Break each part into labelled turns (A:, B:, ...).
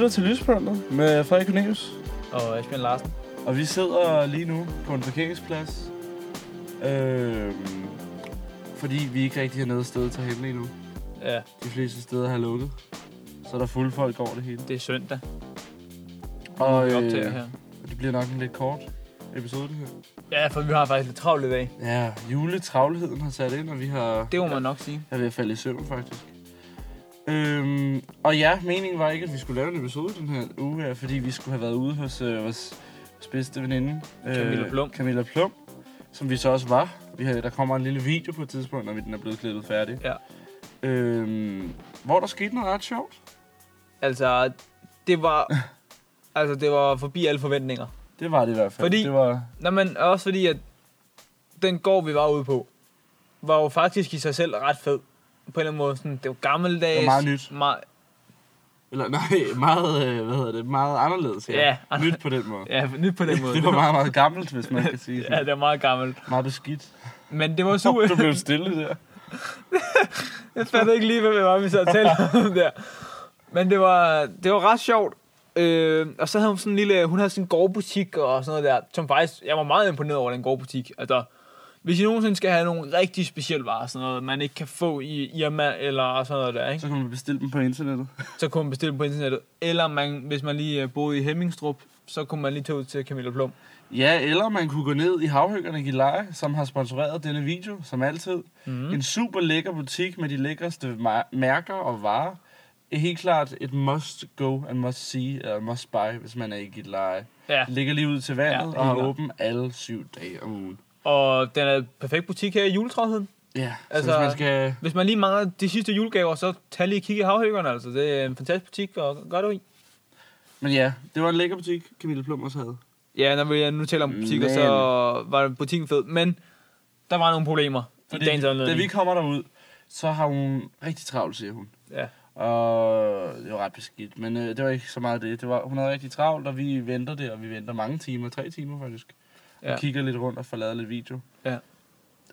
A: Kunstfondet med Frederik Cornelius.
B: Og Asbjørn Larsen.
A: Og vi sidder lige nu på en parkeringsplads. Øh, fordi vi ikke rigtig har noget sted at tage hen lige nu.
B: Ja,
A: De fleste steder har lukket. Så er der fulde folk over det hele.
B: det er søndag,
A: Og
B: vi optager
A: øh,
B: her.
A: det bliver nok en lidt kort episode, det her.
B: Ja, for vi har faktisk lidt travlt i dag.
A: Ja, juletravlheden har sat ind, og vi har...
B: Det må man nok sige.
A: Jeg er ved at falde i søvn, faktisk. Øhm, og ja, meningen var ikke, at vi skulle lave en episode den her uge her, fordi vi skulle have været ude hos øh, vores vores bedste veninde. øh,
B: Camilla Plum.
A: Camilla Plum, som vi så også var. Vi har, der kommer en lille video på et tidspunkt, når vi- den er blevet klippet færdig.
B: Ja.
A: Øhm, hvor der skete noget ret sjovt.
B: Altså, det var... altså, det var forbi alle forventninger.
A: Det var det i hvert fald.
B: Fordi-
A: Det var,
B: Nå, men også fordi, at den gård, vi var ude på, var jo faktisk i sig selv ret fed. På en eller anden måde. Sådan, det var gammeldags.
A: Det var meget nyt.
B: Meget,
A: eller nej, meget, øh, hvad hedder det, meget anderledes.
B: Ja.
A: Nyt på den måde.
B: ja, nyt på den måde.
A: det var meget, meget gammelt, hvis man kan sige
B: Ja,
A: sådan.
B: det var meget gammelt.
A: Meget beskidt.
B: Men det var super...
A: Du blev stille der.
B: Jeg fatter ikke lige, hvad det var, vi sad og talte om der. Men det var, det var ret sjovt. Øh, og så havde hun sådan en lille, hun havde sådan en gårdbutik og sådan noget der, som faktisk, jeg var meget imponeret over den gårdbutik. Altså, hvis I nogensinde skal have nogle rigtig specielle varer, sådan noget, man ikke kan få i Irma eller sådan noget der, ikke?
A: Så kan man bestille dem på internettet.
B: så kunne man bestille dem på internettet. Eller man, hvis man lige øh, boede i Hemmingstrup, så kunne man lige tage ud til Camilla Plum.
A: Ja, eller man kunne gå ned i Havhøggerne Gilleleje, som har sponsoreret denne video, som altid.
B: Mhm.
A: Mm. En super lækker butik med de lækreste ma- mærker og varer. Helt klart et must go and must see, eller must buy, hvis man er i Gilleleje.
B: Ja,
A: Det ligger lige ud til
B: Ja,
A: vandet
B: helt
A: ja, og har
B: klart.
A: åben alle syv dage om ugen.
B: og den er en perfekt butik her i juletræheden.
A: Ja, altså,
B: Altså-
A: så hvis man skal...
B: Hvis man lige mangler de sidste julegaver, så tag lige et kig i havhøggerne, altså. Det er en fantastisk butik, og gør det i.
A: Men ja, det var en lækker butik, Camille Plum også havde.
B: Ja, når vi nu taler om butikker, så var butikken fed. Men der var nogle problemer Fordi i dagens
A: da vi
B: anledning.
A: kommer derud, så har hun rigtig travlt, siger hun.
B: Ja.
A: Og det var ret beskidt, men øh, det var ikke så meget det. det var, hun havde rigtig travlt, og vi venter der, og vi venter mange timer, tre timer faktisk. Ja.
B: Ja.
A: Og kigger lidt rundt og får lavet lidt video.
B: Ja.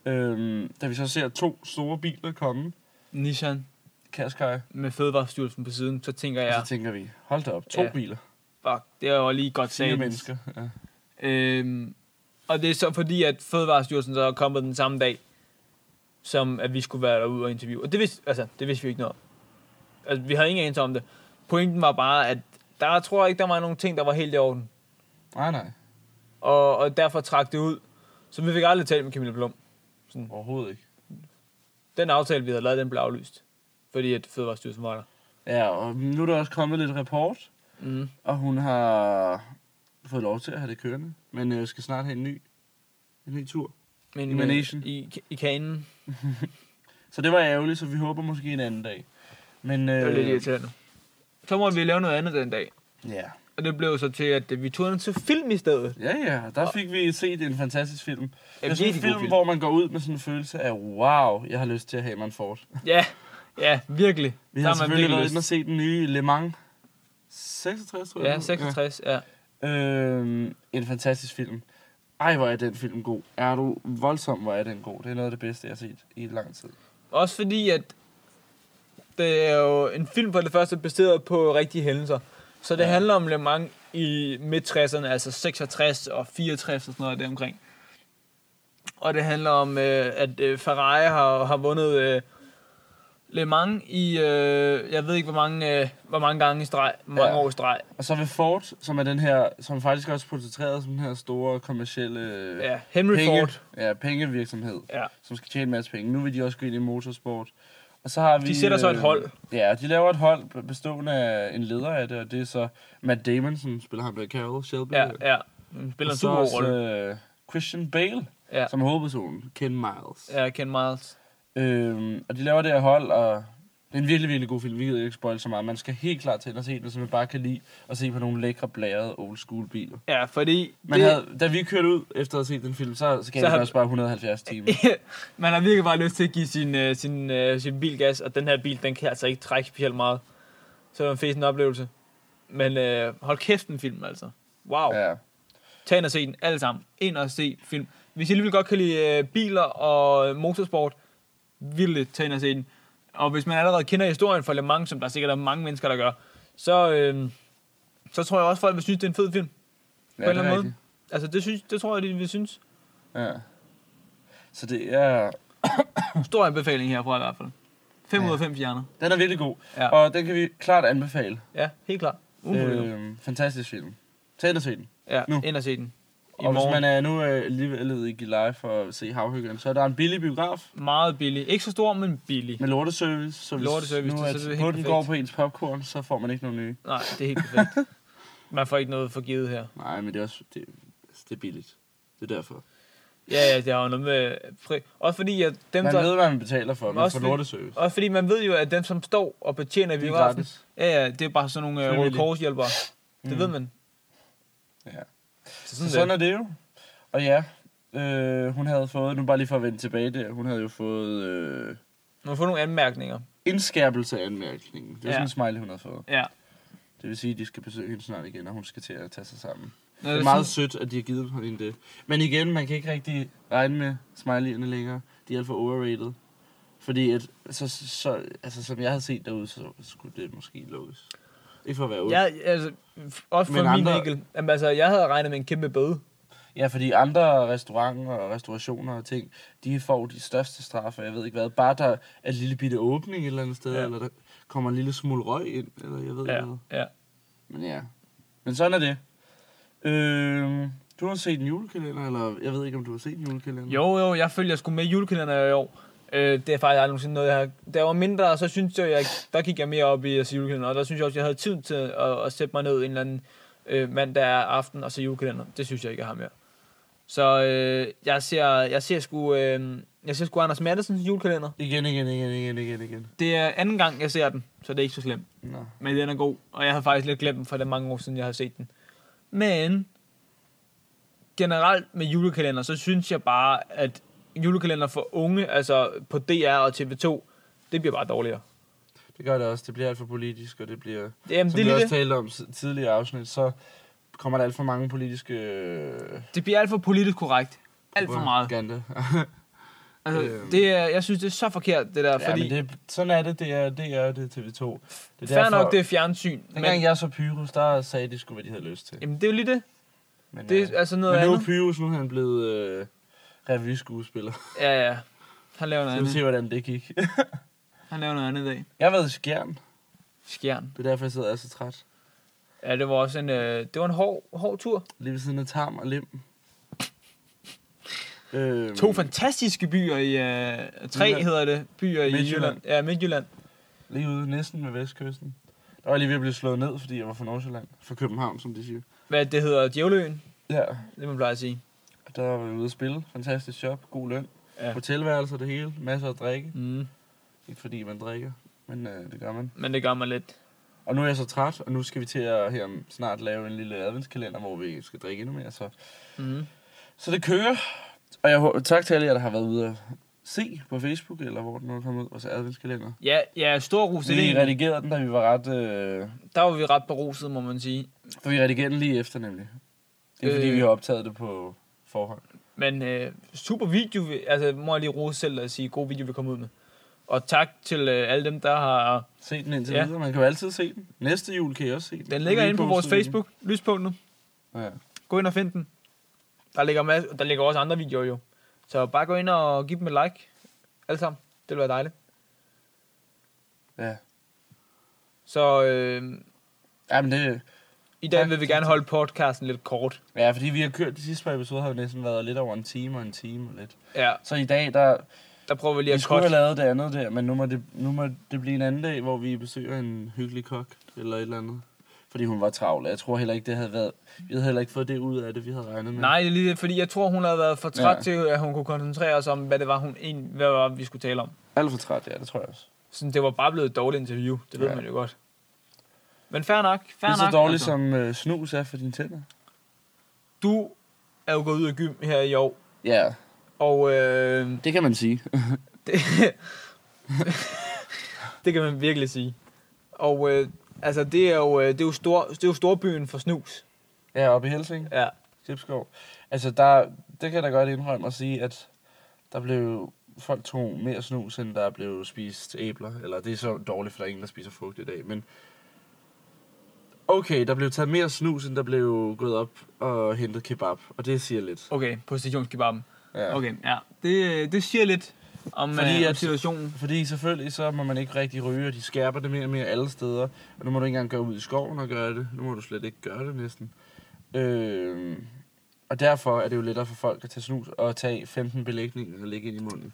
A: Øhm, da vi så ser to store biler komme,
B: Nissan
A: Qashqai,
B: med Fødevarestyrelsen på siden, så tænker
A: ja.
B: jeg,
A: så tænker vi, hold da op, to
B: Ja.
A: ja. biler,
B: fuck, det var lige godt
A: fire
B: sagt.
A: mennesker. Ja.
B: Øhm, og det er så fordi, at Fødevarestyrelsen så er kommet den samme dag, som at vi skulle være derude og interviewe. Og det vidste, altså, det vidste vi ikke noget om. Altså, vi havde ingen anelse om det. Pointen var bare, at der tror jeg ikke, der var nogen ting, der var helt i orden.
A: Nej, nej,
B: Og, og derfor trak det ud. Så vi fik aldrig talt med Camilla Blum.
A: overhovedet ikke.
B: den aftale, vi havde lavet, den blev aflyst. Fordi at Fødevarestyrelsen var der.
A: Ja, og nu er der også kommet lidt rapport,
B: Mm.
A: og hun har fået lov til at have det kørende, men øh, skal snart have en ny, en ny tur.
B: Men, øh,
A: I Malaysian.
B: I, I kanen.
A: Så det var ærgerligt, så vi håber måske en anden dag. Men, øh,
B: Det var lidt irriterende. Så måtte vi lave noget andet den dag.
A: Ja.
B: Og det blev så til, at øh, vi tog den til film i stedet.
A: Ja, ja, der fik vi set en fantastisk film. Det er
B: Jamen,
A: sådan en
B: virkelig god
A: film,
B: film.
A: film, hvor man går ud med sådan en følelse af, wow, jeg har lyst til at have mig en Ford.
B: Ja, ja, virkelig.
A: Vi
B: Der
A: har
B: har man
A: selvfølgelig været
B: virkelig
A: inde og se den nye Le Mans 66, tror jeg.
B: Ja,
A: den hed.
B: 66, ja.
A: Ja. Øhm, en fantastisk film. Ej, hvor er den film god. Er du voldsom, hvor er den god. Det er noget af det bedste, jeg har set i lang tid.
B: Også fordi, at det er jo en film for det første baseret på rigtige hændelser. Så det
A: Ja.
B: ja. handler om Le Mans i midt-60'erne, altså 66 og 64 og sådan noget deromkring. Og det handler om, øh, at øh, Ferrari har, har vundet øh, Le Mans i, øh, jeg ved ikke hvor mange, øh, hvor mange gange i streg, mange
A: Ja.
B: år i streg.
A: Og så ved Ford, som er den her, som faktisk også er portrætteret som den her store kommercielle
B: Ja, Henry
A: penge,
B: Ford.
A: Ja, pengevirksomhed.
B: Ja.
A: som skal tjene en masse penge. Nu vil de også gå ind i motorsport. Og så har vi,
B: sætter så et
A: øh,
B: hold.
A: Ja, de laver et hold bestående af en leder af det, og det er så Matt Damon, som spiller ham der Carol Shelby.
B: Ja, ja. Han
A: Og
B: spiller en
A: så
B: super
A: også,
B: rolle.
A: øh, Christian Bale,
B: Ja.
A: ja. som er hovedpersonen. Ken Miles.
B: Ja, Ken Miles.
A: Øhm, og de laver det her hold, og det er en virkelig, virkelig god film. Vi gider ikke spoil så meget. Man skal helt klart til at se den, hvis man bare kan lide at se på nogle lækre, blærede old school biler.
B: Ja, fordi...
A: Man havde, da vi kørte ud efter at have set den film, så skal
B: Så
A: så
B: har-
A: jeg også bare 170 timer.
B: man har virkelig bare lyst til at give sin, øh, sin, øh, sin bil gas, og den her bil, den kan altså ikke trække specielt meget. Så det var en fesen oplevelse. Men øh, hold kæft en film, altså. Wow. Ja.
A: Ja.
B: Tag ind og se den, alle sammen. Ind og se film. Hvis I alligevel godt kan lide øh, biler og øh, motorsport, vildt tag ind og se den. Og hvis man allerede kender historien for Le Mans, som der sikkert er mange mennesker, der gør, så, øh, så tror jeg også, folk vil synes, det er en fed film.
A: Ja,
B: på en
A: det
B: eller
A: er
B: anden måde.
A: rigtigt.
B: Altså, det, synes, det tror jeg, de vil synes.
A: Ja. Så det er...
B: Stor anbefaling herfra i hvert fald. 5
A: Ja.
B: ud af 5 stjerner.
A: Den er virkelig god.
B: Ja.
A: Og den kan vi klart anbefale.
B: Ja, helt klart. Øh,
A: Øhm, fantastisk film. Tag ind og se den.
B: ja,
A: nu.
B: ind og se den. I
A: Og hvis
B: morgen.
A: man er nu øh, alligevel i Gilleleje for at se havhyggeren, så er der en billig biograf
B: Meget billig. Ikke så stor, men billig.
A: med lorteservice. Så hvis
B: Lorteservice,
A: nu
B: det-
A: at
B: så er det helt
A: hunden
B: perfekt.
A: går på ens popcorn, så får man ikke nogen nye.
B: Nej, det er helt perfekt. Man får ikke noget forgivet her.
A: Nej, men det er også det, altså, det er billigt. Det er derfor.
B: Ja, ja, det har jo noget med... Fri. Også fordi, at dem,
A: Man
B: der...
A: ved, hvad man betaler for,
B: Men
A: men
B: også
A: for
B: fordi-
A: lorteservice.
B: Også fordi man ved jo, at dem, som står og betjener
A: Det er
B: biografen,
A: gratis.
B: ja, ja, det er bare sådan nogle øh, Røde
A: Frivillige.
B: Kors-hjælpere. Det
A: Mm.
B: ved man.
A: Ja.
B: Så
A: Så sådan
B: sådan, sådan
A: er det jo. Og ja, øh, hun havde fået, nu bare lige for at vende tilbage der, hun havde jo fået øh,
B: Man får nogle anmærkninger.
A: indskærpelse af anmærkningen. Det er
B: Ja.
A: ja. sådan en smiley, hun havde fået.
B: Ja.
A: Det vil sige, at de skal besøge hende snart igen, og hun skal til at tage sig sammen.
B: Nå,
A: Det er meget sødt, at de har givet hende det. Men igen, man kan ikke rigtig regne med smileyerne længere. De er alt for overrated. Fordi at, så, så, altså, som jeg havde set derude, så skulle det måske lukkes. Ikke for at være ud. Ja.
B: Jeg, altså, f- også
A: Men
B: for min
A: andre-
B: vinkel. Jamen, altså, jeg havde regnet med en kæmpe bøde.
A: ja, fordi andre restauranter og restaurationer og ting, de får de største straffe, jeg ved ikke hvad. Bare der er en lille bitte åbning et eller andet sted,
B: Ja.
A: ja. eller der kommer en lille smule røg ind, eller jeg ved ikke hvad.
B: ja.
A: Men ja. Men sådan er det. Øh, du har set en julekalender, eller jeg ved ikke, om du har set en julekalender.
B: Jo, jo, jeg følger sgu med i julekalenderen i år. Øh, det er faktisk aldrig nogensinde noget, jeg har... Da jeg var mindre, så synes jeg, jeg der gik jeg mere op i at se julekalenderen. Og der synes jeg også, jeg havde tid til at, at sætte mig ned en eller anden øh, mandag aften og se julekalenderen. Det synes jeg ikke, jeg har mere. Så øh, jeg ser, jeg ser sgu... Øh, jeg ser sgu Anders Mattesens julekalender.
A: Igen, igen, igen, igen, igen, igen.
B: Det er anden gang, jeg ser den, så det er ikke så slemt.
A: Nå.
B: Men den er god, og jeg havde faktisk lidt glemt den, for det er mange år siden, jeg har set den. Men generelt med julekalender, så synes jeg bare, at julekalender for unge, altså på DR og TV2, det bliver bare dårligere.
A: Det gør det også. Det bliver alt for politisk, og det bliver...
B: Jamen,
A: Som
B: det,
A: vi
B: er lige
A: også
B: det.
A: talte om s- tidligere afsnit, så kommer der alt for mange politiske... øh,
B: det bliver alt for politisk korrekt. Alt for meget.
A: Propaganda.
B: Altså,
A: Øhm.
B: det er, jeg synes, det er så forkert, det der,
A: ja,
B: fordi
A: men det, sådan er det. Det er, det er det er TV2. Det er
B: fair nok, det er fjernsyn.
A: Dengang
B: Men,
A: jeg så Pyrus, der sagde de sgu, hvad de havde lyst til.
B: jamen, det er jo lige det.
A: Men,
B: Det
A: øh,
B: er altså noget
A: men nu er
B: andet.
A: Pyrus, nu er han blevet øh, revyskuespiller.
B: Ja, ja. Han laver noget
A: Så vi
B: andet.
A: se, hvordan det gik.
B: Han laver noget andet i dag.
A: jeg har været i skjern.
B: Skjern.
A: Det er derfor, jeg sidder og er så træt.
B: Ja, det var også en, øh, det var en hård, hård tur.
A: Lige ved siden af Tarm og Lem. Øhm,
B: To fantastiske byer i... Øh, tre
A: Jylland.
B: hedder det. Byer i
A: Midtjylland.
B: Jylland. Ja, Midtjylland.
A: Lige ude næsten ved vestkysten. Der var jeg lige ved at blive slået ned, fordi jeg var fra Nordsjælland. Fra København, som de siger.
B: Hvad det hedder? Djævløen.
A: Ja,
B: Det man plejer at sige.
A: og der var vi ude at spille. Fantastisk job, god løn.
B: Ja.
A: Ja. Hotelværelser, det hele. Masser af drikke.
B: Mm.
A: Ikke fordi man drikker, men øh, det gør man.
B: Men det gør mig lidt.
A: Og nu er jeg så træt, og nu skal vi til at her om- snart lave en lille adventskalender, hvor vi skal drikke endnu mere. Så,
B: Mm.
A: så det kører. Og jeg, hå- tak til alle jer, der har været ude at se på Facebook, eller hvor den nu er kommet ud, vores adventskalender.
B: Ja, ja, stor rus til
A: Vi
B: det.
A: redigerede den, da vi var ret... Øh,
B: Der var vi ret beruset, må man sige.
A: for vi redigerede den lige efter, nemlig. Det er fordi,
B: Øh.
A: vi har optaget det på forhånd.
B: Men øh, super video, vi- altså må jeg lige rose selv og sige, god video vi kom ud med. Og tak til øh, alle dem, der har...
A: Se den indtil
B: Ja.
A: ja. videre. Man kan jo altid se den. Næste jul kan jeg også se den.
B: Den ligger
A: Vi
B: inde på vores
A: postede den.
B: Facebook, lyspunktet.
A: Ja.
B: Gå ind og find den. Der ligger, mas- der ligger også andre videoer jo. Så bare gå ind og giv dem et like. Alle sammen. Det vil være dejligt.
A: ja.
B: Så øh,
A: Jamen det...
B: I dag
A: Tak.
B: vil vi gerne holde podcasten lidt kort.
A: Ja, fordi vi har kørt... De sidste par episoder har jo næsten været lidt over en time og en time og lidt.
B: Ja,
A: Så i dag, der...
B: der prøver vi lige
A: Vi
B: at
A: skulle
B: cut.
A: have lavet det andet der, men nu må det, nu må det blive en anden dag, hvor vi besøger en hyggelig kok eller et eller andet. Fordi hun var travl. Jeg tror heller ikke, det havde været... Vi havde heller ikke fået det ud af det, vi havde regnet med.
B: Nej, det er lige det, fordi jeg tror, hun havde været for træt ja.
A: Ja.
B: til, at hun kunne koncentrere sig om, hvad det var, hun egentlig, hvad det var, vi skulle tale om.
A: Alt for træt, ja, det tror jeg også.
B: Så det var bare blevet et dårligt interview. Det ved
A: Ja.
B: man jo godt. Men fair nok. Fair
A: Det er så
B: nok, Altså,
A: dårligt, som øh, snus er for dine tænder.
B: Du er jo gået ud af gym her i år,
A: Ja,
B: og øh,
A: det kan man sige.
B: det, det kan man virkelig sige. Og øh, altså, det er jo, øh, det er jo, stor, det er jo storbyen for snus.
A: ja, oppe i Helsing.
B: Ja.
A: Klipskov. Altså, der, det kan jeg da godt indrømme at sige, at der blev folk tog mere snus, end der blev spist æbler. Eller det er så dårligt, for der er ingen, der spiser frugt i dag. Men okay, der blev taget mere snus, end der blev gået op og hentet kebab. Og det siger lidt.
B: Okay, på stationskebabben.
A: Ja.
B: Ja. Okay, ja. Det, øh, det siger lidt om,
A: Fordi
B: Fordi, øh, om
A: at-
B: situationen.
A: Fordi selvfølgelig så må man ikke rigtig ryge, og de skærper det mere og mere alle steder. Og nu må du ikke engang gøre ud i skoven og gøre det. Nu må du slet ikke gøre det næsten. Øh, og derfor er det jo lettere for folk at tage snus og tage 15 belægninger og lægge ind i munden.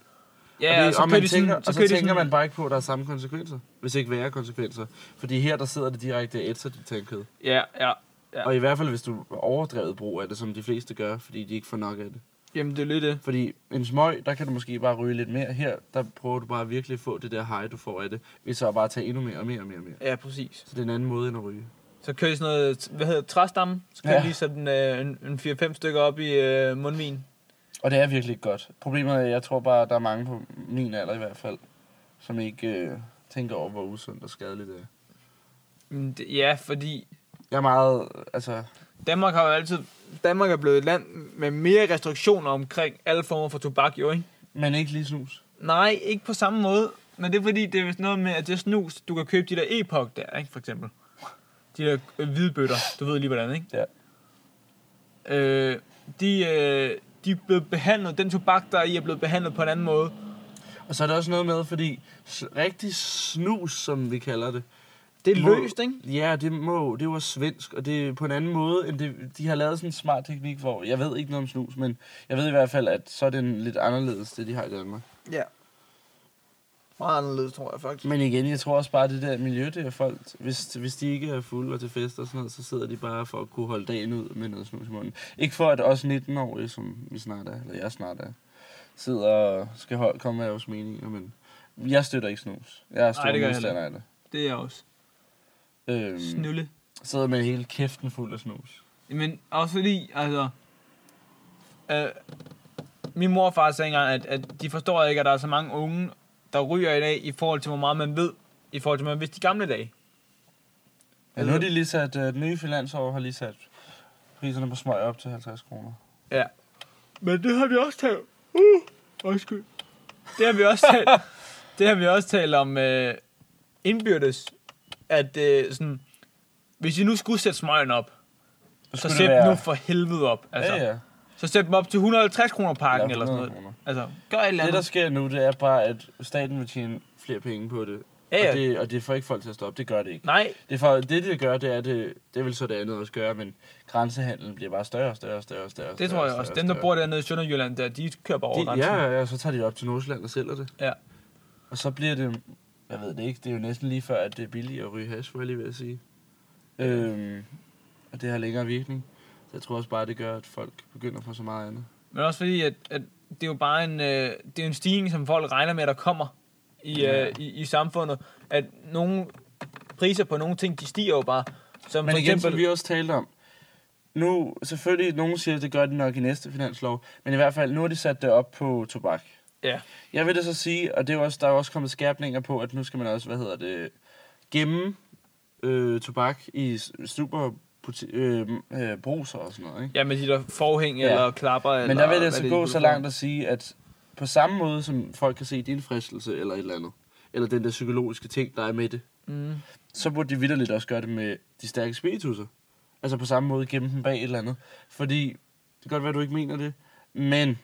B: Ja, og,
A: det,
B: så
A: og,
B: kører
A: man
B: de
A: tænker,
B: sådan,
A: og så,
B: kører de
A: tænker
B: sådan,
A: man bare ikke på, at der er samme konsekvenser. Hvis ikke værre konsekvenser. Fordi her der sidder det direkte og ætser dit tandkød.
B: Ja, ja.
A: Ja. Og i hvert fald hvis du overdrevet brug af det, som de fleste gør, fordi de ikke får nok af det.
B: Jamen, det er lidt det.
A: Fordi en smøg, der kan du måske bare ryge lidt mere. Her, der prøver du bare virkelig at få det der hej, du får af det. Ved så at bare tage endnu mere og mere og mere og mere.
B: Ja, præcis.
A: Så det er en anden måde end at ryge.
B: Så kører de sådan noget, hvad hedder det, træstamme. Så kører
A: Ja.
B: ja. lige sådan øh, en, en 4-5 stykker op i øh, mundvin.
A: Og det er virkelig ikke godt. Problemet er, at jeg tror bare, at der er mange på min alder i hvert fald, som ikke øh, tænker over, hvor usundt og skadeligt det er. Mm,
B: Men det- Ja, fordi
A: Jeg er meget, altså...
B: Danmark har jo altid... Danmark er blevet et land med mere restriktioner omkring alle former for tobak, jo, ikke?
A: Men ikke lige snus.
B: Nej, ikke på samme måde. Men det er fordi, det er vist noget med, at det snus, du kan købe de der Epoch der, ikke, for eksempel. De der øh, hvide bøtter, du ved lige hvordan, ikke?
A: Ja.
B: Øh, de, øh, de er blevet behandlet, den tobak, der er i, er blevet behandlet på en anden måde.
A: Og så er der også noget med, fordi s- rigtig snus, som vi kalder det,
B: Det er
A: Må-
B: løst, ikke?
A: Ja, det må, det var svensk, og det er på en anden måde, end det, de har lavet sådan en smart teknik, hvor jeg ved ikke noget om snus, men jeg ved i hvert fald, at så er det en lidt anderledes, det de har i Danmark.
B: Ja. Meget anderledes, tror jeg faktisk.
A: Men igen, jeg tror også bare, det der miljø, det er folk, hvis, hvis de ikke er fulde og til fest og sådan noget, så sidder de bare for at kunne holde dagen ud med noget snus i munden. Ikke for, at også 19-årige, som vi snart er, eller jeg snart er, sidder og skal holde, komme med vores meninger, men jeg støtter ikke snus. Jeg er
B: Nej, det
A: stor
B: gør jeg
A: modstander af det.
B: Det er jeg også.
A: Øhm,
B: Snulle.
A: sidder med hele kæften fuld af snus.
B: Men også fordi, altså... Øh, min mor og far sagde engang, at, at de forstår ikke, at der er så mange unge, der ryger i dag, i forhold til, hvor meget man ved, i forhold til, hvad man vidste i gamle dage.
A: Ja, nu har de lige sat, øh, den nye finanslov har lige sat priserne på smøg op til 50 kroner.
B: Ja. Men det har vi også talt... Uh, undskyld. Det har vi også talt, det har vi også talt om øh, indbyrdes, at øh, sådan, hvis I nu skulle sætte smøgen op, så
A: skulle det
B: sæt
A: være-
B: nu for helvede op. Altså.
A: Altså, ja, ja.
B: Så sæt dem op til 150 kroner pakken
A: Ja,
B: eller sådan
A: 100
B: noget.
A: kroner.
B: Altså, gør et eller
A: Det,
B: andet.
A: der sker nu, det er bare, at staten vil tjene flere penge på det.
B: Ja, ja.
A: Og, det og det får ikke folk til at stoppe. Det gør det ikke.
B: Nej,
A: Det, er for, det, det gør, det er, det, det vil så det andet også gøre, men grænsehandlen bliver bare større og større og større. og større
B: det tror jeg også. Dem, der bor dernede i Sønderjylland, der, de kører bare over
A: over
B: grænsen.
A: de, ja, ja, ja, så tager de op til Nordsjælland og sælger det.
B: Ja.
A: Og så bliver det, jeg ved det ikke, det er jo næsten lige før, at det er billigere at ryge hash, var jeg lige ved at sige. Øhm, og det har længere virkning. Så jeg tror også bare, det gør, at folk begynder på så meget andet.
B: Men også fordi, at, at det er jo bare en, øh, det er en stigning, som folk regner med, at der kommer i,
A: Ja.
B: øh, i, i samfundet. At nogle priser på nogle ting, de stiger jo bare. Som
A: Men
B: for
A: igen,
B: eksempel,
A: som vi også talte om, nu, selvfølgelig, nogen siger, at det gør de nok i næste finanslov, men i hvert fald, nu har de sat det op på tobak.
B: Ja.
A: Jeg vil da så sige, og det er jo også, der er jo også kommet skærpninger på, at nu skal man også, hvad hedder det, gemme øh, tobak i s- superbuti- øh, øh, bruser og sådan noget, ikke?
B: Ja, med de der forhæng
A: Ja.
B: ja. eller klapper.
A: Men
B: eller,
A: der vil
B: hvad
A: det så
B: er,
A: gå
B: de
A: så
B: bruger.
A: langt at sige, at på samme måde, som folk kan se din fristelse eller et eller andet, eller den der psykologiske ting, der er med det,
B: Mm.
A: så burde de vidderligt også gøre det med de stærke spiritusser. Altså på samme måde gemme dem bag et eller andet. Fordi det kan godt være, at du ikke mener det, men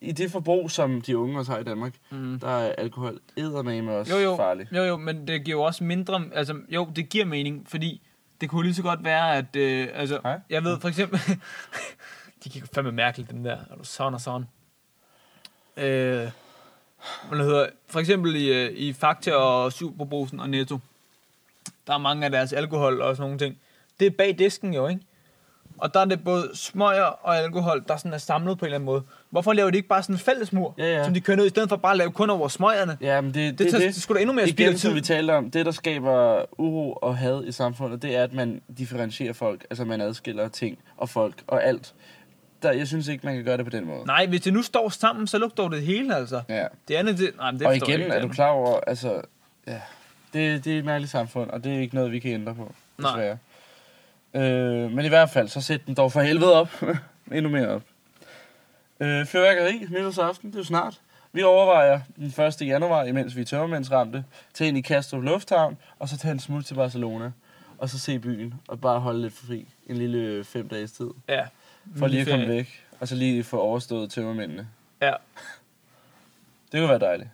A: i det forbrug, som de unge også har i Danmark,
B: Mm.
A: der er alkohol eddermame også
B: jo, jo.
A: farlig.
B: Jo, jo, men det giver jo også mindre... Altså, jo, det giver mening, fordi det kunne lige så godt være, at... Øh, altså,
A: Hej.
B: jeg ved for eksempel... de gik jo fandme mærkeligt, dem der. Er du sådan og sådan? Øh, hvad det hedder, for eksempel i, øh, i Fakta og Superbrusen og Netto. Der er mange af deres alkohol og sådan nogle ting. Det er bag disken jo, ikke? Og der er det både smøger og alkohol, der sådan er samlet på en eller anden måde. Hvorfor laver de ikke bare sådan en fællesmur,
A: Ja, ja.
B: som de kører ned, i stedet for bare at lave kun over smøgerne?
A: Ja, men det,
B: Det,
A: det,
B: tager,
A: det,
B: det, skulle da endnu mere
A: det,
B: spild af
A: igen, som
B: tid.
A: vi talte om, det der skaber uro og had i samfundet, det er, at man differentierer folk, altså man adskiller ting og folk og alt. Der, jeg synes ikke, man kan gøre det på den måde.
B: Nej, hvis det nu står sammen, så lugter det hele, altså.
A: Ja.
B: Det andet, det... Nej, men det
A: og
B: forstår jeg
A: igen,
B: ikke,
A: er du
B: det
A: klar over, altså, ja, det, det er et mærkeligt samfund, og det er ikke noget, vi kan ændre på,
B: Nej.
A: desværre. Øh, men i hvert fald, så sæt den dog for helvede op. Endnu mere op. Øh, fyrværkeri, nytårsaften, det er jo snart. Vi overvejer den 1. januar, imens vi er tørmændsramte, til ind i Kastrup Lufthavn, og så tage en smut til Barcelona. og så se byen, og bare holde lidt fri en lille øh, fem dages tid.
B: Ja.
A: For lige at komme
B: ferie.
A: væk, og så lige få overstået tømmermændene.
B: Ja.
A: Det kunne være dejligt.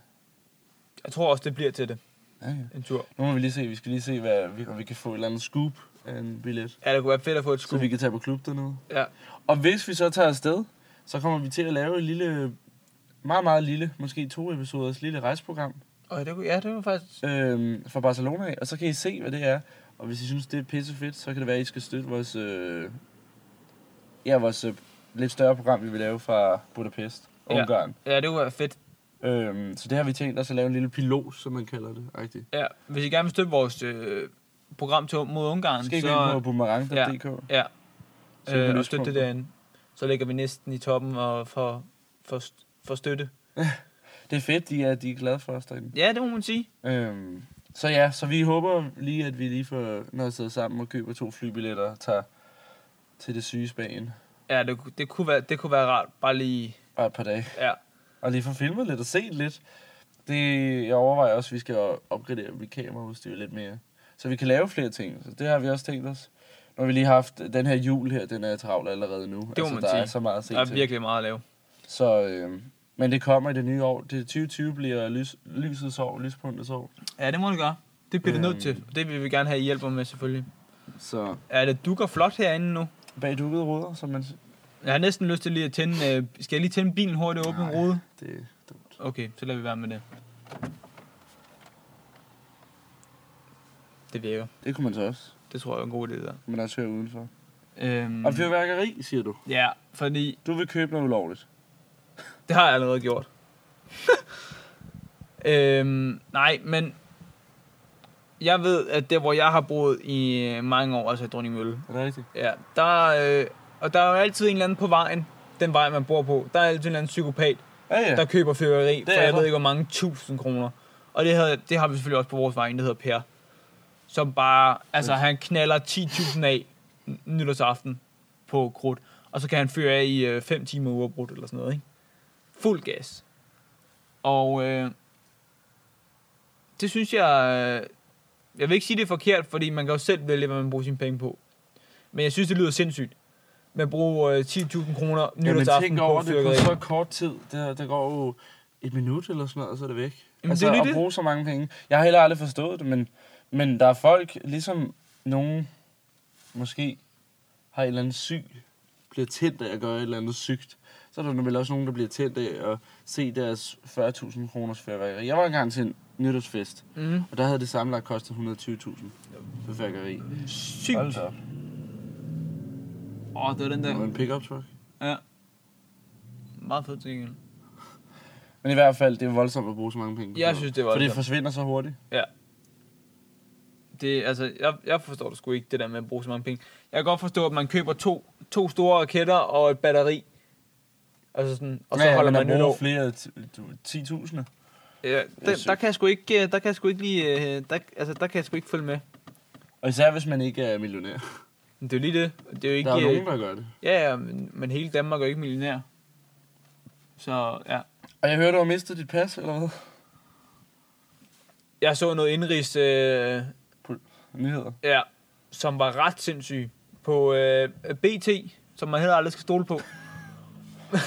B: Jeg tror også, det bliver til det.
A: Ja, ja.
B: En tur.
A: Nu må vi lige se, vi skal lige se, hvad, vi- om vi kan få et eller andet scoop af en billet.
B: Ja, det kunne være fedt at få et
A: Så
B: skud.
A: vi kan tage på klub dernede.
B: Ja.
A: Og hvis vi så tager afsted, så kommer vi til at lave et lille, meget, meget lille, måske to episoders lille rejseprogram
B: Og det kunne, ja, det var faktisk...
A: øhm, fra Barcelona af, og så kan I se, hvad det er. Og hvis I synes, det er pissefedt, så kan det være, at I skal støtte vores, øh, ja, vores øh, lidt større program, vi vil lave fra Budapest,
B: Ja.
A: Ungarn.
B: Ja, det kunne være fedt.
A: Øhm, så det har vi tænkt os at lave en lille pilot, som man kalder det. Rigtigt.
B: Ja, hvis I gerne vil støtte vores øh, program til, mod Ungarn,
A: Skal I gå
B: så...
A: ind på boomerang.dk?
B: Ja,
A: Så kan
B: øh,
A: vi
B: og støtte det
A: lytte på.
B: derinde. Så ligger vi næsten i toppen og for, for, for støtte.
A: Det er fedt, de er, de er glade for os derinde.
B: Ja, det må man sige.
A: Øhm, så ja, så vi håber lige, at vi lige får noget siddet sammen og køber to flybilletter og tager til det syge Spanien.
B: Ja, det, ku- det, kunne være, det kunne være rart. Bare lige...
A: Bare et par dage.
B: Ja,
A: Og lige få filmet lidt og set lidt. Det, jeg overvejer også, at vi skal opgradere mit kameraudstyr lidt mere. Så vi kan lave flere ting. Så det har vi også tænkt os. Nu har vi lige haft den her jul her, den er travl allerede nu. Det
B: må man
A: der
B: sige.
A: er så meget at se
B: der er
A: til.
B: virkelig meget at lave.
A: Så, øhm, men det kommer i det nye år. Det 2020 bliver lys, lysets år, lyspunktets år.
B: Ja, det må det gøre. Det bliver det nødt
A: Øhm.
B: til. Det vil vi gerne have I hjælper med, selvfølgelig.
A: Så
B: Ja, det dukker flot herinde nu.
A: bag dukkede ruder, som man...
B: Jeg har næsten lyst til lige at tænde... Øh, skal jeg lige tænde bilen hurtigt og åbne en
A: Nej.
B: rude?
A: Det, det
B: Okay, så lader vi være med det. Det virker.
A: Det kunne man så også.
B: Det tror jeg er en god idé, der.
A: Man også hører udenfor.
B: Øhm,
A: Mm. Og fyrværkeri, siger du.
B: Ja, fordi
A: Du vil købe noget ulovligt.
B: det har jeg allerede gjort. øhm, nej, men jeg ved, at det, hvor jeg har boet i øh, mange år, altså i Dronningmølle,
A: Er det rigtigt?
B: ja, der, øh, og der er jo altid en eller anden på vejen, den vej, man bor på, der er altid en eller anden psykopat,
A: Ja, ja.
B: der køber fyrværkeri for
A: er
B: jeg
A: der.
B: ved ikke, hvor mange tusind kroner. Og det, havde, det har vi selvfølgelig også på vores vej, en, der hedder Per. Som bare, altså han knaller 10.000 af n- nytårsaften på krudt. Og så kan han føre af i 5 timer uafbrudt eller sådan noget, ikke? Fuld gas. Og øh, det synes jeg, øh, jeg vil ikke sige det er forkert, fordi man kan jo selv vælge, hvad man bruger sine penge på. Men jeg synes, det lyder sindssygt. Med at bruge øh, 10.000 kroner
A: Jamen,
B: nytårsaften
A: tænk
B: på
A: over det på
B: fyrværkeri.
A: så kort tid. Det, der går jo et minut eller sådan noget, og så er det væk.
B: Jamen,
A: altså,
B: det er jo
A: at
B: lige det.
A: bruge så mange penge. Jeg har heller aldrig forstået det, men, men der er folk, ligesom nogen måske har et eller andet syg, bliver tændt af at gøre et eller andet sygt. Så er der vel også nogen, der bliver tændt af at se deres 40.000 kroners fyrværkeri. Jeg var engang til en nytårsfest,
B: Mm.
A: og der havde det samlet kostet 120.000 for fyrværkeri.
B: Sygt.
A: Hold da op.
B: Åh, oh, det var den
A: Det var
B: der.
A: en pickup truck.
B: Ja. Meget fed ting. egentlig.
A: Men i hvert fald, det er voldsomt at bruge så mange penge. på
B: Jeg
A: sådan
B: synes, det er
A: noget. For det
B: voldsomt.
A: forsvinder så hurtigt.
B: Det, altså, jeg, jeg forstår det sgu ikke, det der med at bruge så mange penge. Jeg kan godt forstå, at man køber to, to store raketter og et batteri. Altså sådan, og så ja, holder man
A: bruger
B: nytår.
A: flere ti- du- 10.000.
B: Ja,
A: er
B: det,
A: sygt.
B: der kan jeg sgu ikke, øh, der kan jeg sgu ikke lige, øh, der, altså, der kan jeg sgu ikke følge med.
A: Og især hvis man ikke er millionær.
B: Men det er jo lige det. Det er jo ikke,
A: Der er
B: øh,
A: nogen, der gør det.
B: ja, ja, men, men hele Danmark er jo ikke millionær. Så ja.
A: Og jeg hørte, du har mistet dit pas, eller hvad?
B: Jeg så noget indrigs, øh,
A: Nyheder.
B: Ja, som var ret sindssyg på øh, BT, som man heller aldrig skal stole på.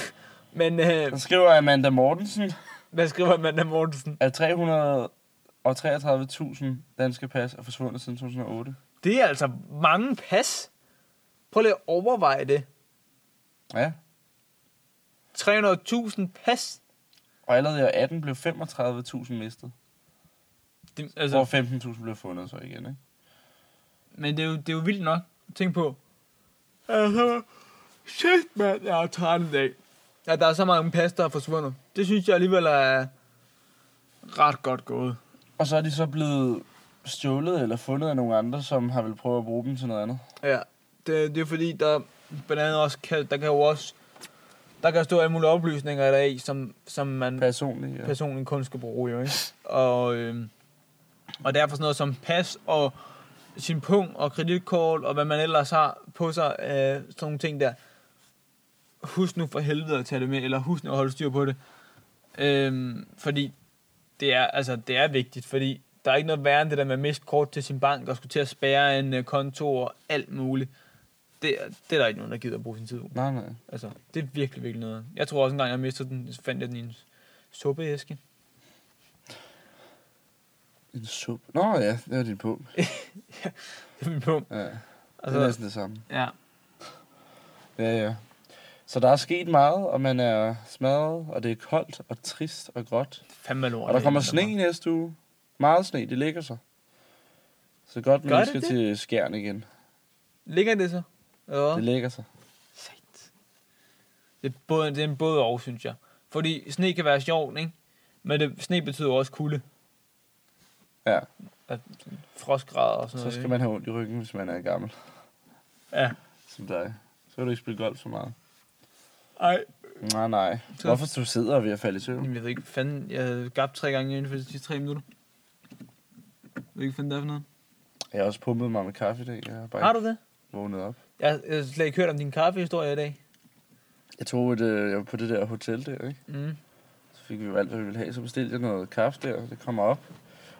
B: Men øh,
A: Der skriver Amanda Mortensen,
B: hvad skriver Amanda Mortensen?
A: at 333.000 danske pas er forsvundet siden 2008.
B: Det er altså mange pas. Prøv lige at overveje det.
A: Ja.
B: 300.000 pas.
A: Og allerede i år 18 blev 35.000 mistet.
B: Det,
A: Hvor
B: altså,
A: 15.000 blev fundet så igen, ikke?
B: men det er, jo, det er jo vildt nok. Tænk på. Altså, shit, mand, jeg er træt i dag. Ja, der er så mange pas, der er forsvundet. Det synes jeg alligevel er ret godt gået.
A: Og så er de så blevet stjålet eller fundet af nogle andre, som har vel prøvet at bruge dem til noget andet.
B: Ja, det, det er fordi, der blandt andet også kan, der kan jo også, der kan stå alle mulige oplysninger der i, som, som man
A: Personligt, ja.
B: personen kun skal bruge, jo, ikke? Og, øhm, og derfor sådan noget som pas og sin punkt og kreditkort og hvad man ellers har på sig, øh, sådan nogle ting der. Husk nu for helvede at tage det med, eller husk nu at holde styr på det. Øhm, fordi det er, altså, det er vigtigt, fordi der Der er ikke noget værre end det der med at miste kort til sin bank og skulle til at spære en øh, konto og alt muligt. Det, er- det er der ikke nogen, der gider at bruge sin tid på.
A: Nej, nej.
B: Altså, det er virkelig, virkelig noget. Jeg tror også engang, jeg mistede den, så fandt jeg den i en suppeæske.
A: En sup. Nå ja, det var din pump.
B: Det er min pump.
A: Ja, det er
B: Altså,
A: næsten det samme.
B: ja.
A: Ja, ja. Så der er sket meget, og man er smadret, og det er koldt og trist og gråt.
B: Fandme lort.
A: Og der kommer sne i næste uge. Meget sne, det ligger sig. Så godt,
B: Gør
A: man
B: det
A: skal
B: det?
A: til skærn igen.
B: Ligger det så? Ja.
A: Det ligger sig.
B: Sejt. Det er, både, det er en både og, synes jeg. Fordi sne kan være sjovt, ikke? Men det, sne betyder også kulde.
A: Ja,
B: At frostgrader og sådan
A: så
B: noget.
A: skal
B: ikke?
A: man have ondt i ryggen, hvis man er gammel
B: Ja.
A: som dig. Så kan du ikke spille golf så meget.
B: Ej.
A: Nej, nej.
B: Så-
A: Hvorfor du sidder ved at falde i søvn?
B: Jamen, jeg ved ikke, fanden, jeg havde gabt tre gange inden for de sidste tre minutter. Jeg ved ikke, fanden det er for noget.
A: Jeg har også pumpet mig med kaffe i dag. Jeg har bare
B: Har du det?
A: ikke vågnet op.
B: Jeg, jeg har slet ikke hørt om din kaffehistorie i dag.
A: Jeg tog et, øh, jeg var på det der hotel der, ikke?
B: Mm.
A: Så fik vi jo alt, hvad vi ville have. Så bestilte jeg noget kaffe der, og det kommer op.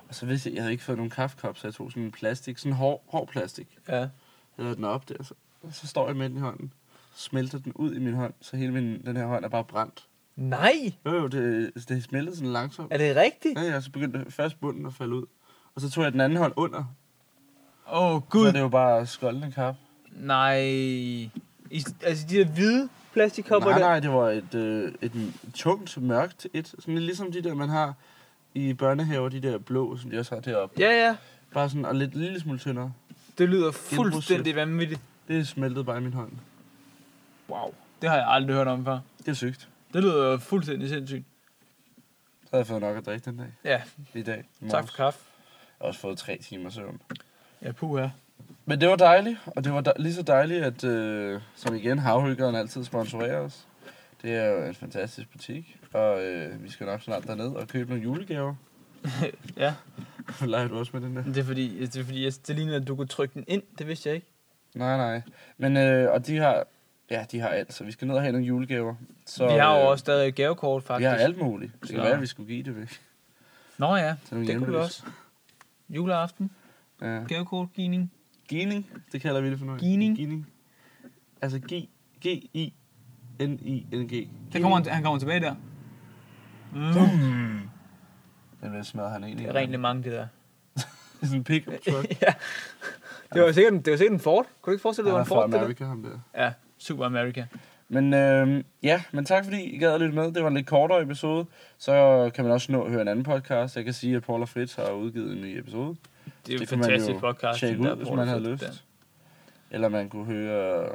A: Og så vidste jeg, jeg havde ikke fået nogen kaffekop, så jeg tog sådan en plastik, sådan en hård, hård plastik.
B: Ja.
A: Jeg lavede den op der, så, og så står jeg med den i hånden. Så smelter den ud i min hånd, så hele min, den her hånd er bare brændt.
B: Nej!
A: Jo, jo, det, det smeltede sådan langsomt.
B: Er det rigtigt?
A: Ja, ja, så begyndte først bunden at falde ud. Og så tog jeg den anden hånd under.
B: Åh, oh,
A: Gud. Så er
B: gud.
A: det jo bare skoldende kaffe.
B: Nej. I, altså, de der hvide plastikkopper
A: Nej,
B: der.
A: nej, det var et, øh, et tungt, mørkt et. Sådan lidt ligesom de der, man har i børnehaver, de der blå, som de også har deroppe.
B: Ja, ja.
A: Bare sådan, og lidt en lille smule tyndere.
B: Det lyder fuldstændig vanvittigt.
A: Det smeltede bare i min hånd.
B: Wow. Det har jeg aldrig hørt om før.
A: Det er sygt.
B: Det lyder fuldstændig sindssygt.
A: Så havde jeg fået nok at drikke den dag.
B: Ja,
A: I dag. i
B: tak
A: morges.
B: for kaffe.
A: Jeg har også fået tre timer søvn.
B: Ja, puha.
A: Men det var dejligt, og det var dej- lige så dejligt, at øh, som igen, Havhyggeren altid sponsorerer os. Det er jo en fantastisk butik, og øh, vi skal nok snart derned og købe nogle julegaver.
B: Ja,
A: Leger du også med den der?
B: men det er fordi, det, er fordi jeg, det ligner, at du kunne trykke den ind. Det vidste jeg ikke.
A: Nej, nej. Men, øh, og de har, ja, de har alt, så vi skal ned og have nogle julegaver. Så,
B: vi har jo
A: øh,
B: også stadig gavekort,
A: Vi
B: faktisk.
A: har alt muligt. Det kan
B: Så-
A: være, at vi skulle give det væk.
B: Nå ja,
A: Til nogle
B: det kunne vi
A: hjemløse.
B: også. Juleaften,
A: Ja.
B: gavekortgivning.
A: Gining, det kalder vi det for noget.
B: Gining?
A: Gining. Altså G, G, I, N, I, N, G.
B: Der kommer han, han kommer tilbage der. Mm.
A: Boom. Den vil smadre han egentlig.
B: Det er rent mange, det der.
A: Det er sådan en pickup truck.
B: ja. Det var sikkert, en- det var sikkert en Ford. Kunne du ikke forestille dig, det var
A: Han er
B: en
A: fra
B: Ford? Det der?
A: Amerika, ham der.
B: Ja, Super America.
A: Men øh, ja, men tak fordi I gad at lytte med. Det var en lidt kortere episode. Så kan man også nå at høre en anden podcast. Jeg kan sige, at Paul og Fritz har udgivet en ny episode.
B: Det er jo en
A: Det kan man
B: fantastisk
A: jo
B: podcast.
A: Tjek
B: den
A: ud,
B: der
A: hvis
B: Ford
A: man havde
B: Ford
A: lyst.
B: der.
A: Eller man kunne høre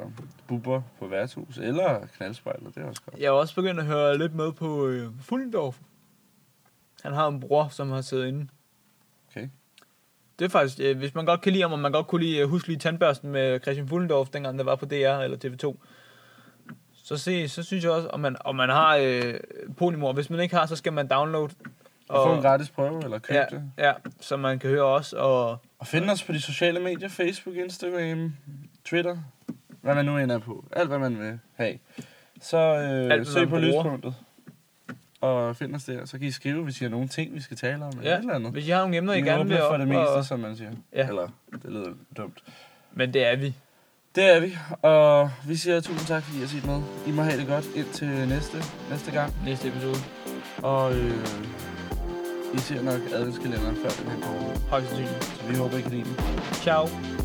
A: Bubber på værtshus. Eller Knaldspejlet, det er også godt.
B: Jeg er også begyndt at høre lidt med på øh, Fuldendorf. Han har en bror, som har siddet inde.
A: Okay.
B: Det er faktisk, øh, hvis man godt kan lide ham, og man godt kunne lide øh, huske lige tandbørsten med Christian Fullendorf, dengang der var på DR eller TV2, så, se, så synes jeg også, om man, om man har øh, Polymor. Hvis man ikke har, så skal man downloade.
A: Og, og få en gratis prøve, eller køb
B: ja,
A: det.
B: ja, så man kan høre os. Og,
A: Og find os på de sociale medier, Facebook, Instagram, Twitter, hvad man nu end er på. Alt, hvad man vil have. Så øh,
B: hvad
A: Alt, søg
B: man
A: på
B: bruger.
A: lyspunktet. Og find os der. Så kan I skrive, hvis I har nogle ting, vi skal tale om. Eller
B: Ja,
A: et eller andet.
B: hvis I har nogle emner, I
A: Vi er
B: gerne vil
A: åbne for det
B: op,
A: meste,
B: og-
A: som man siger.
B: Ja.
A: Eller, det lyder dumt.
B: Men det er vi.
A: Det er vi. Og vi siger tusind tak, fordi I har set med. I må have det godt indtil næste, næste gang.
B: Næste episode.
A: Og øh, I ser nok adventskalenderen før den her.
B: Højst sandsynligt.
A: Så vi håber, I kan lide den.
B: Ciao.